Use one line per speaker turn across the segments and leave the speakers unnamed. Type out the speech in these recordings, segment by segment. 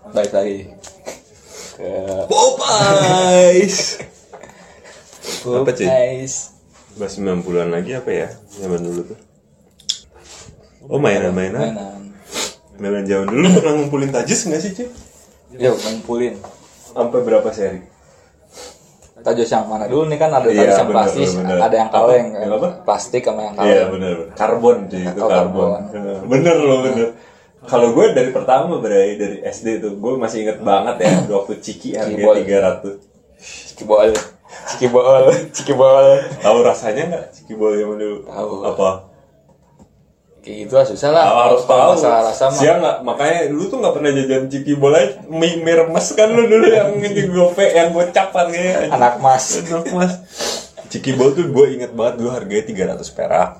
Popeyes lagi. Popeyes.
Apa, Ci?
Popeyes.
Bahas 90-an lagi apa ya? Zaman dulu tuh. Oh mainan-mainan.
Mainan.
Mainan zaman dulu pernah ngumpulin tajis nggak sih, Ci?
Yuk, ngumpulin.
Sampai berapa seri?
Tajos yang mana dulu nih kan ada
Iya,
tajos yang
bener,
plastik,
bener, bener.
ada yang kaleng, kan.
Apa? Yang apa?
plastik sama yang kaleng.
Iya benar benar. Karbon cuy itu
Oh,
karbon.
karbon. Nah.
Heeh, Bener loh bener. Kalau gue dari pertama berarti dari SD tuh gue masih inget banget ya waktu ciki harga
Keyboard.
tiga ratus.
Ciki bool, ciki bool, ciki bool.
Tahu rasanya nggak ciki boy yang dulu?
Tahu.
Apa?
Kayak gitu lah susah lah.
Tahu, harus
Kalau
tahu.
Masalah rasa mah.
Siang nggak? Makanya dulu tuh nggak pernah jajan ciki boy aja. Mie, mie remes kan lu dulu yang di gope yang gocap kan kayaknya.
Anak mas.
Enak mas Ciki Bowl tuh gue inget banget dulu harganya 300 perak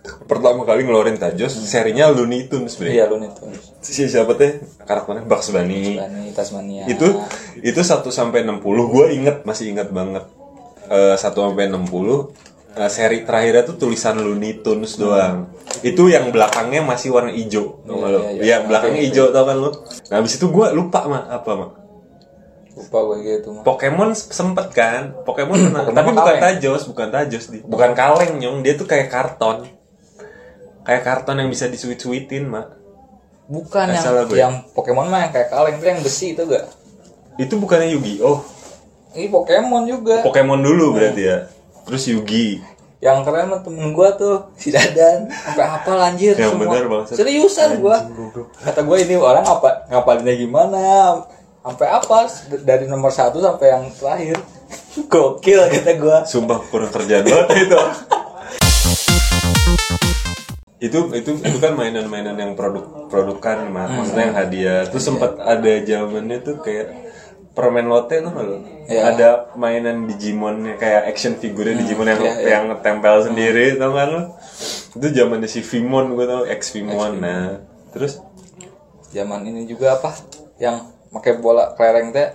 Pertama kali ngeluarin Tajos serinya Looney Tunes bre
Iya lu nih tuh.
Si siapa teh karakternya Bugs Bunny
Bani Tasmania.
Itu itu 1 sampai 60 gue inget masih inget banget Eh, 1 sampai 60 eh, seri terakhirnya tuh tulisan Looney Tunes
Hmm.
doang itu yang belakangnya masih warna hijau tau nggak
Iya,
lo?
iya, iya.
Iya, belakangnya
Oke,
hijau tau kan lo? Nah abis itu gue lupa mah apa mah
lupa gue gitu mah.
Pokemon sempet kan Pokemon pernah
Pokemon
tapi bukan
kaleng.
tajos bukan tajos di bukan kaleng nyong dia tuh kayak karton kayak karton yang bisa disuit-suitin mak
Bukan
Nggak
yang
salah gue.
yang Pokemon mah yang kayak kaleng itu yang besi itu gak?
itu bukannya Yugi oh
Ini Pokemon juga.
Pokemon dulu berarti
Iya.
ya terus Yugi
yang keren mah temen gua tuh si Dadan sampai hafal anjir
Yang
semua.
bener, Bang.
Seriusan gua.
goblok.
Kata gua ini orang apa ngapalinnya gimana? Sampai apa dari nomor satu sampai yang terakhir. Gokil kata gua.
sumpah kurang kerjaan banget itu itu itu itu kan mainan-mainan yang produk produkan
Hmm.
mak maksudnya yang hadiah
Iya.
terus sempat ada zamannya tuh kayak permen lote tuh nggak lo
Iya.
ada mainan Digimonnya kayak action figurnya Digimon yang
iya, iya.
yang tempel sendiri tau kan lo itu zamannya si Vimon gue tau ex Vimon nah terus
Zaman ini juga apa? Yang pakai bola kelereng teh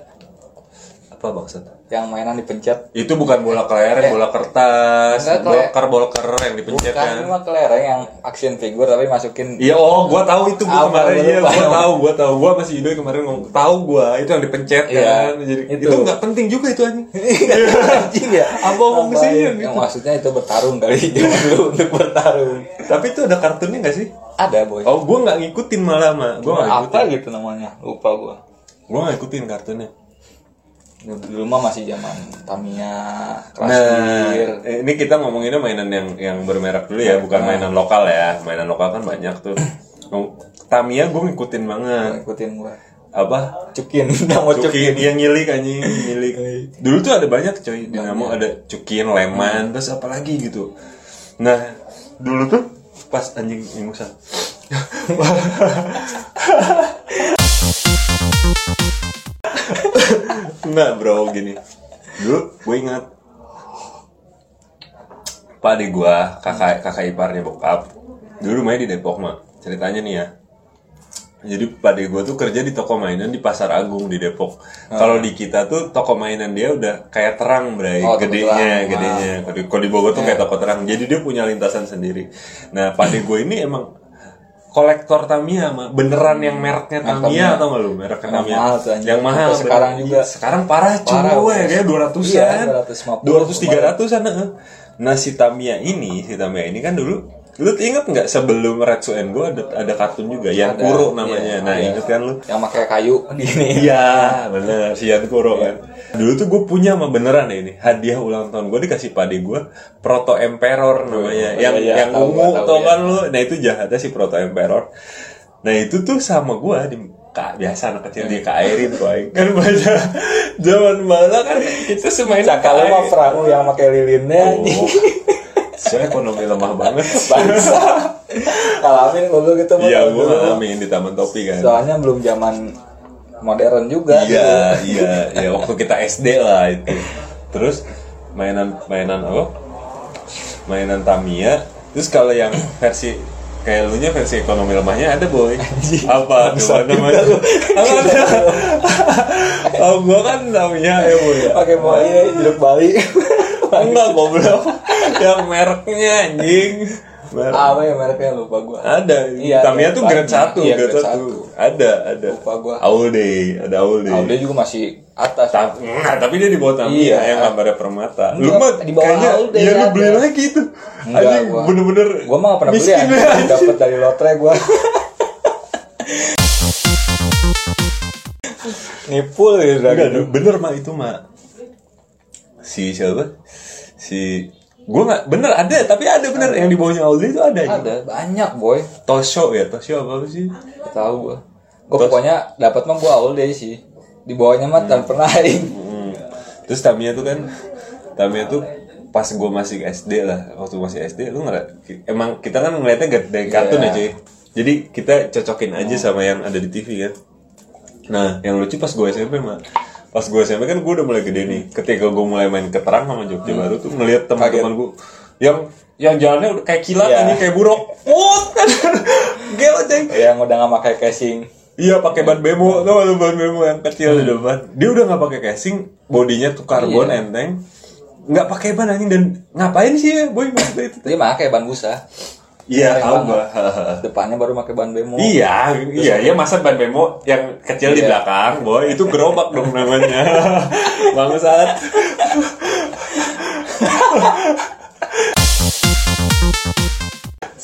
apa maksudnya
yang mainan dipencet.
itu bukan bola kelereng, bola kertas,
Eh. Enggak,
bola
kayak-
ker bola ker yang dipencet
Bukan
kan.
cuma kelereng yang action figure tapi masukin
Iya, oh, gua tahu itu gua
Apa,
kemarin.
gua
Iya,
lupa.
gua tahu, gua tahu. Gua masih idoy kemarin ngomong tahu gua itu yang dipencet
Iya,
kan. Jadi itu
itu.
nggak penting juga itu anjing.
anjing ya.
Apa omong
Tambahin.
kesini
Yang
gitu.
maksudnya itu bertarung kali zaman dulu untuk bertarung.
Tapi itu ada kartunnya nggak sih?
Ada boy.
Oh, gua nggak ngikutin malah mah. Gua nggak
apa
ngikutin.
gitu namanya lupa gua
Gua nggak ngikutin kartunnya.
Dulu- dulu mah masih zaman Tamiya kelas
Nah,
bir.
eh, ini kita ngomonginnya mainan yang yang bermerek dulu ya, bukan mainan lokal ya. Mainan lokal kan banyak tuh. Tamiya gua ngikutin banget.
ngikutin gua
Apa?
cukin udah mau
Cukin,
cukin
iya ngilik anjing, ngilik. Dulu tuh ada banyak coy, Dinamo ada Cukin, Leman, terus apa lagi gitu. Nah, dulu tuh pas anjing ingusan. Enggak Nah, bro, gini. Dulu gue ingat Pak adik gua, kakak kakak iparnya bokap. Dulu rumahnya di Depok mah. Ceritanya nih ya. Jadi pada gue tuh kerja di toko mainan di Pasar Agung di Depok.
Ah.
Kalau di kita tuh toko mainan dia udah kayak terang, Bray.
Oh, toko
gedenya,
terang. Iya.
gedenya. Kalau di- Kalau di Bogor tuh kayak toko terang. Jadi dia punya lintasan sendiri. Nah, pada gue ini emang kolektor Tamiya mah. beneran yang mereknya
Merek
Tamiya
Tamiya.
atau nggak lu mereknya
Yang
Tamiya
mahal tuh, anjing.
yang mahal
Sampai sekarang
bener.
juga.
sekarang parah
Parah,
cuy
bro.
ya 200
Iya,
an
250.
200 300 an heeh. nah si Tamiya ini si Tamiya ini kan dulu lu inget nggak sebelum Red and Go ada ada kartun juga yang
Ada,
Kuro
iya,
namanya nah
iya.
inget kan lu
yang pakai kayu gini
Oh, Iya, bener. Si Yan Kuro kan.
Iya.
Dulu tuh gue punya mah beneran ya ini hadiah ulang tahun gue dikasih pade gue Proto Emperor namanya,
Oh,
yang
iya,
yang
tahu,
ungu
tahu,
tau
iya.
kan lu. Nah itu jahatnya si Proto Emperor. Nah itu tuh sama gue di Ka- biasa anak kecil dia kairin tuh aing. kan baca zaman malah kan kita semain
cakal mah perahu yang pakai lilinnya
Iya. Oh. Saya ekonomi lemah banget.
bangsa ngalamin dulu gitu mah
Iya,
dulu.
gue ngalamin di Taman Topi kan.
soalnya belum zaman modern juga
Iya,
dulu.
iya, iya. Waktu kita SD lah itu. Terus mainan mainan apa? Mainan Tamiya. Terus kalau yang versi kayak lu nya versi ekonomi lemahnya ada boy. Apa tuh namanya? Apa ada? Oh, gua kan Tamiya ya boy. ya.
pakai mau ini jeruk Bali
Enggak goblok. Yang mereknya anjing. Merek.
apa ya mereknya lupa gua
Ada.
Iya,
Tamiya
ada.
tuh grade 1,
Iya,
grade
grade
1. Ada, ada.
Lupa gua.
All day, ada all day.
Audi juga masih atas
Ta- Nah, tapi dia di bawah
Iya.
Tamiya yang gambarnya permata.
Enggak,
Lu mah
di bawah
kayaknya
all day
ya lu
ada.
beli lagi itu.
Enggak,
Anjing,
gua.
bener-bener
gua mah gak pernah beli
miskin ya,
anjing.
anjing.
dapet dari lotre gua nipul gitu
Enggak,
gitu.
lu- bener mah itu mah. Si siapa? Si gua nggak bener ada tapi ada bener yang di bawahnya Aldi itu ada anjing.
ada banyak boy
Tosho ya Tosho apa sih
Gak tahu gua gua pokoknya dapat mah gua all day sih di bawahnya mah tak pernah aing
Hmm. Terus Tamiya tuh kan Tamiya tuh pas gue masih SD lah waktu masih SD lu ngeliat emang kita kan ngeliatnya gar- dari kartun
Iya.
aja ya jadi kita cocokin aja sama yang ada di TV kan nah yang lucu pas gue SMP mah pas gue SMP kan gue udah mulai gede nih ketika gue mulai main keterang sama Jogja
Hmm.
baru tuh ngeliat teman-teman gue yang yang jalannya udah kayak kilat
Iya.
ini kayak buruk Wut! gelo ceng
yang udah gak pakai casing
Iya pakai ban bemo, tau gak lu ban bemo yang kecil di depan. Dia udah nggak pakai casing, bodinya tuh karbon
Iya.
enteng. Nggak pakai ban anjing dan ngapain sih ya boy maksudnya itu?
dia mah kayak ban busa
Iya
tahu
tahu
gua. depannya baru pakai ban bemo
Iya, iya, iya masa ban bemo yang kecil
Iya.
di belakang, boy itu gerobak dong namanya. Bangsat.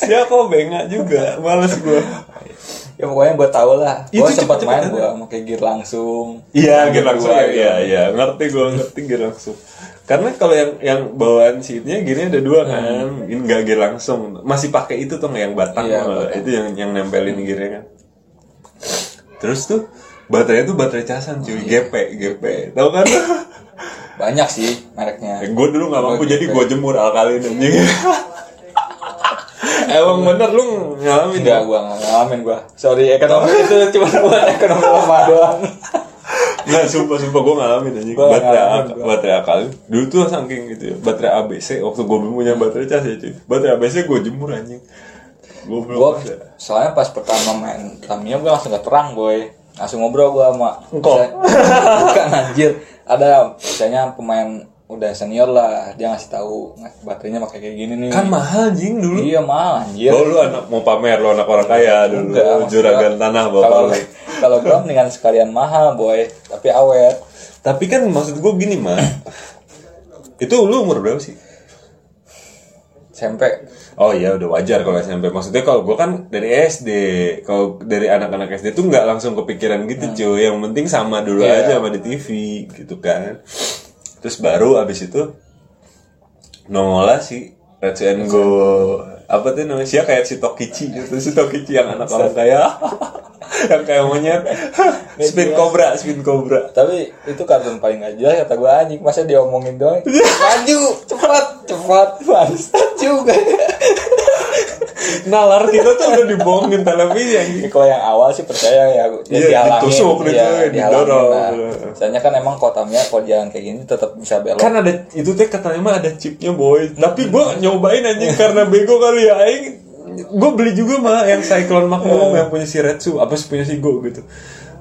Siapa bengak juga, males gua.
ya pokoknya gua tau lah
Itu
gua sempat main
cepet-cepet aja.
gua pakai gear langsung Gear
Iya, gear langsung.
dua,
Iya, iya, iya. Ngerti gue ngerti gear langsung. Karena kalau yang yang bawaan seatnya gearnya ada dua kan, ini nggak gear langsung. Masih pakai itu tuh nggak yang batang,
Hmm. Iya,
malah.
batang.
itu yang yang nempelin gearnya kan. Terus tuh baterainya tuh baterai casan cuy,
Iya.
GP, GP. Tahu kan?
banyak sih mereknya
gue dulu nggak mampu,
Oh,
jadi
GP.
gue jemur alkalin anjing. Emang bener lu ngalamin
Enggak, gua nggak ngalamin gua. Sorry, ekonomi itu cuma buat ekonomi lemah doang.
Nggak, sumpah, sumpah gue ngalamin anjing
Gua
Baterai,
ngalamin,
ak-
gua.
baterai akal Dulu tuh saking gitu ya Baterai ABC Waktu gue belum punya baterai cas ya cuy Baterai ABC gue jemur anjing Gue belum
Gua
ada.
soalnya pas pertama main Tamiya gua langsung keterang, boy. Langsung ngobrol gua sama
Engkau.
Saya- Bukan anjir. Ada misalnya pemain udah senior lah, dia ngasih tahu baterainya pakai kayak gini nih.
Kan mahal anjing dulu
Iya, mahal anjir.
Oh lu anak mau pamer Lu anak orang kaya dulu
Enggak,
Lu
maksud
Juragan
gua,
tanah bapak
Kalau
lu
kalau gua mendingan sekalian mahal, boy, tapi awet.
Tapi kan maksud gue gini mah Itu lu umur berapa sih?
Sampai
Oh iya udah wajar kalau SMP Maksudnya kalau gue kan dari SD Kalau dari anak-anak SD tuh nggak langsung kepikiran gitu cuy Yang penting sama dulu
Iya.
aja sama di TV gitu kan Terus baru abis itu Nongola si Retsu and Go Apa tuh namanya? Sia kayak si Tokichi gitu Si Tokichi yang anak orang kaya Yang kayak monyet Spin Cobra, Spin Cobra
Tapi itu kartun paling gak jelas kata gua anjing masa diomongin doang. Maju, cepat, cepat, bangsat juga.
Nalar kita tuh udah dibohongin televisi anjing.
Ya, kalau yang awal sih percaya ya, ya
Iya,
dihalangin,
ditusuk gitu,
iya,
ya,
dihalangin
didorong.
lah. Soalnya kan emang kotamnya kalau jalan kayak gini tetap bisa belok.
kan ada itu teh katanya mah ada chipnya boy tapi gua nyobain anjing karena bego kali ya aing gue beli juga mah yang Cyclone Magnum yang punya si Retsu apa sih punya si Go gitu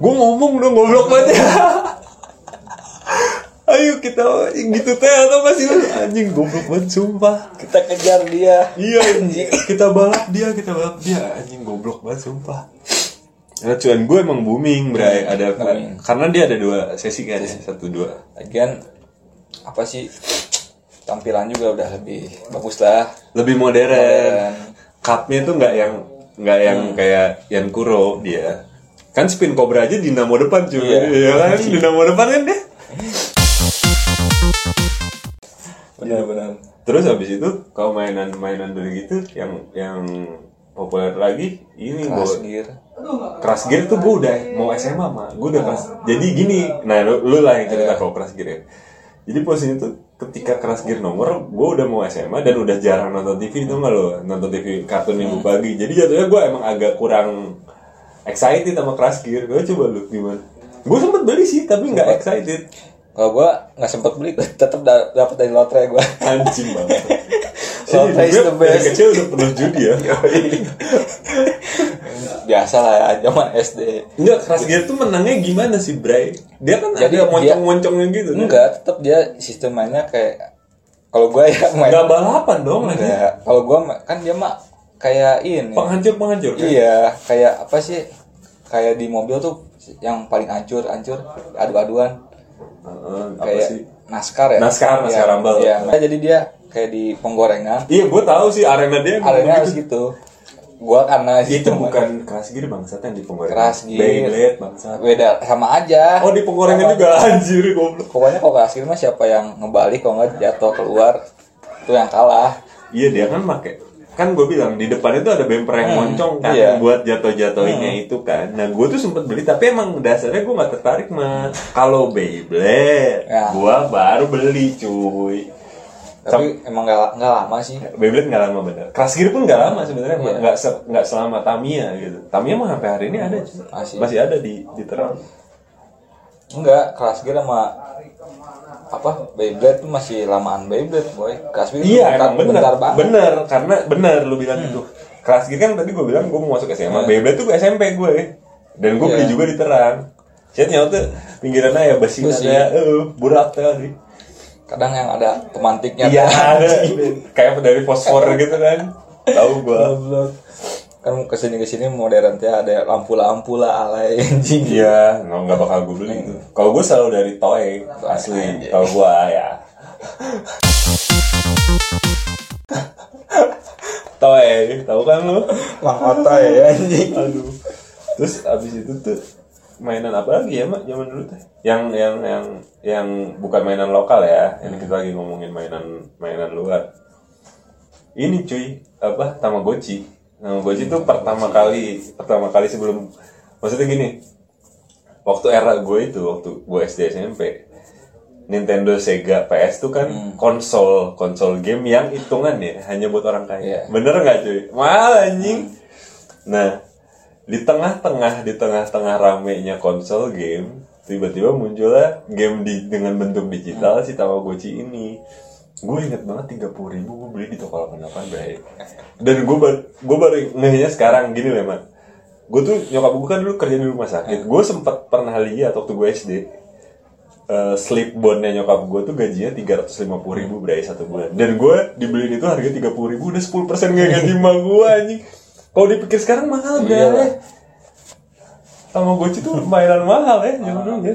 gue ngomong dong goblok banget ya ayo kita gitu teh atau masih anjing goblok banget sumpah
Kita kejar dia.
iya anjing kita balap dia kita balap dia anjing goblok banget sumpah Retsuan gue emang booming bray ada
Booming.
karena dia ada dua sesi kan ya? satu dua
Lagian apa sih tampilan juga udah lebih bagus lah.
lebih modern.
Modern.
Cupnya tuh nggak yang nggak yang kayak yang Kuro dia. Kan spin Cobra aja dinamo depan cuy.
Iya.
Iya kan dinamo depan kan deh.
Benar-benar.
Terus habis itu kalau mainan-mainan dulu gitu yang yang populer lagi ini
Kelas
bawa-
gear.
Crash Gear tuh gue udah mau SMA mah gue udah kelas jadi gini nah lu, lu lah yang
Iya.
cerita kalau Crash Gear ya jadi posisinya tuh ketika Crash Gear nomor gue udah mau SMA dan udah jarang nonton TV itu mah lo nonton TV kartun minggu
Iya.
pagi jadi jatuhnya gue emang agak kurang excited sama Crash Gear gue coba lu gimana gue sempet beli sih tapi nggak excited
Kalau gua nggak sempet beli, gua tetap da- dapat dari lotre gua.
anjing banget Jadi
Lotre is the
gue Iya, dari
best.
kecil udah penuh judi ya
Biasa lah ya, zaman SD.
Enggak, Crash Gear tuh menangnya gimana sih, Bray? Dia kan
Jadi
ada
dia-
moncong-moncongnya gitu. kan?
Enggak, tetap dia sistem mainnya kayak kalau gua ya main
Iya. Nggak balapan dong lagi.
enggak. Kalau gua ma- kan dia mah kayak ini
penghancur penghancur kan?
iya kayak apa sih kayak di mobil tuh yang paling hancur hancur adu-aduan
Heeh, apa
kayak
sih
naskar ya
Naskar,
Iya,
Naskar Rumble.
iya. Nah, jadi dia kayak di penggorengan
iya gue tahu sih arena dia emang
arena harus
begitu.
gitu gua karena
itu
gitu,
bukan keras gini bangsat yang di penggorengan
Keras gitu. gini.
Beyblade bangsat
beda sama aja
oh di penggorengan
Sama-
juga anjir goblok
pokoknya kalau kasih mah siapa yang ngebalik kalau nggak jatuh keluar itu yang kalah
Iya dia kan pakai kan gue bilang di depan itu ada bemper yang moncong kan
iya. Hmm.
buat jatuh-jatuhinnya itu kan. Nah gue tuh sempet beli tapi emang dasarnya gue nggak tertarik mah. Kalau Beyblade
Ya.
gue baru beli cuy. Sam-
tapi emang nggak nggak lama sih
Beyblade nggak lama bener. Keras gear pun nggak lama sebenarnya
Iya.
nggak se- nggak selama Tamiya gitu. Tamiya mah sampai hari ini ada cuy.
Masih.
masih ada di di terang.
enggak kelas gear sama apa Beyblade tuh masih lamaan Beyblade boy kelas gear
Iya
bentar,
emang bener
kan, bentar banget Hmm.
bener karena bener lu bilang itu. Keras gear kan tadi gue bilang gue mau masuk SMA. Beyblade tuh gue SMP gue ya. dan gue beli
Iya.
juga di Terang. Siatnya tuh pinggiran aja besi
Besi.
ada eh, burak tadi.
kadang yang ada pemantiknya
Iya ada kayak dari fosfor gitu kan. Tahu gue.
Goblok. kan kesini kesini modern teh ada lampu-lampu lah alay anjing
Iya nggak nggak bakal gue beli itu. Kalau gue selalu dari toy asli. Kalau gue ya toy tahu kan lu?
mang otai ya anjing
Aduh. Terus abis itu tuh mainan apa lagi ya mak zaman dulu teh? Yang yang yang yang bukan mainan lokal ya. Ini kita lagi ngomongin mainan mainan luar. Ini cuy apa Tamagotchi. Tamagotchi itu pertama kali pertama kali sebelum maksudnya gini. Waktu era gue itu waktu gue SD SMP Nintendo Sega PS tuh kan konsol konsol game yang hitungannya hanya buat orang
Iya.
kaya. Bener nggak cuy? Mahal anjing. Nah, di tengah-tengah di tengah-tengah ramenya konsol game, tiba-tiba muncullah game di dengan bentuk digital si Tamagotchi ini. Gue inget banget 30.000 ribu gue beli di toko 88 bray. Dan gue baru, gue baru ngehnya sekarang gini loh man. Gue tuh nyokap gue kan dulu kerja di rumah sakit. Gue sempat pernah lihat waktu gue SD. eh, slip bondnya nyokap gue tuh gajinya 350.000 ribu bray satu bulan dan gue dibeliin itu harga 30.000 udah 10% kayak gaji emak gue anjing kalau dipikir sekarang mahal
Iya
bray
lah.
Tamagotchi tuh mainan mahal ya zaman dulu ya.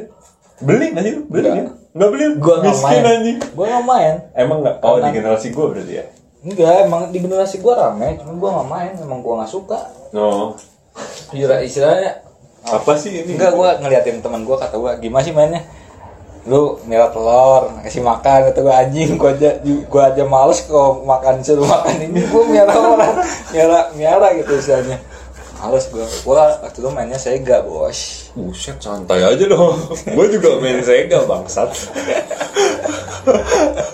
Beli aja lu, beli
Enggak.
ya. Enggak beli,
Ah. gua nggak
miskin
main
anjing.
gua nggak main
Emang enggak oh di
Karena-
generasi gua berarti ya.
enggak emang di generasi gua rame cuman gua nggak main emang gua nggak suka
No.
Jura- istilahnya
Apa sih ini?
Enggak, gua ngeliatin teman gua kata gua gimana sih mainnya? Lu mira telur, kasih makan kata gua anjing, gua aja gua aja males kalau makan suruh makan ini. Gua miara orang, miara miara gitu istilahnya. Males gua. Gua waktu itu mainnya Sega, Bos.
Buset, santai aja loh. gua juga main Sega bangsat.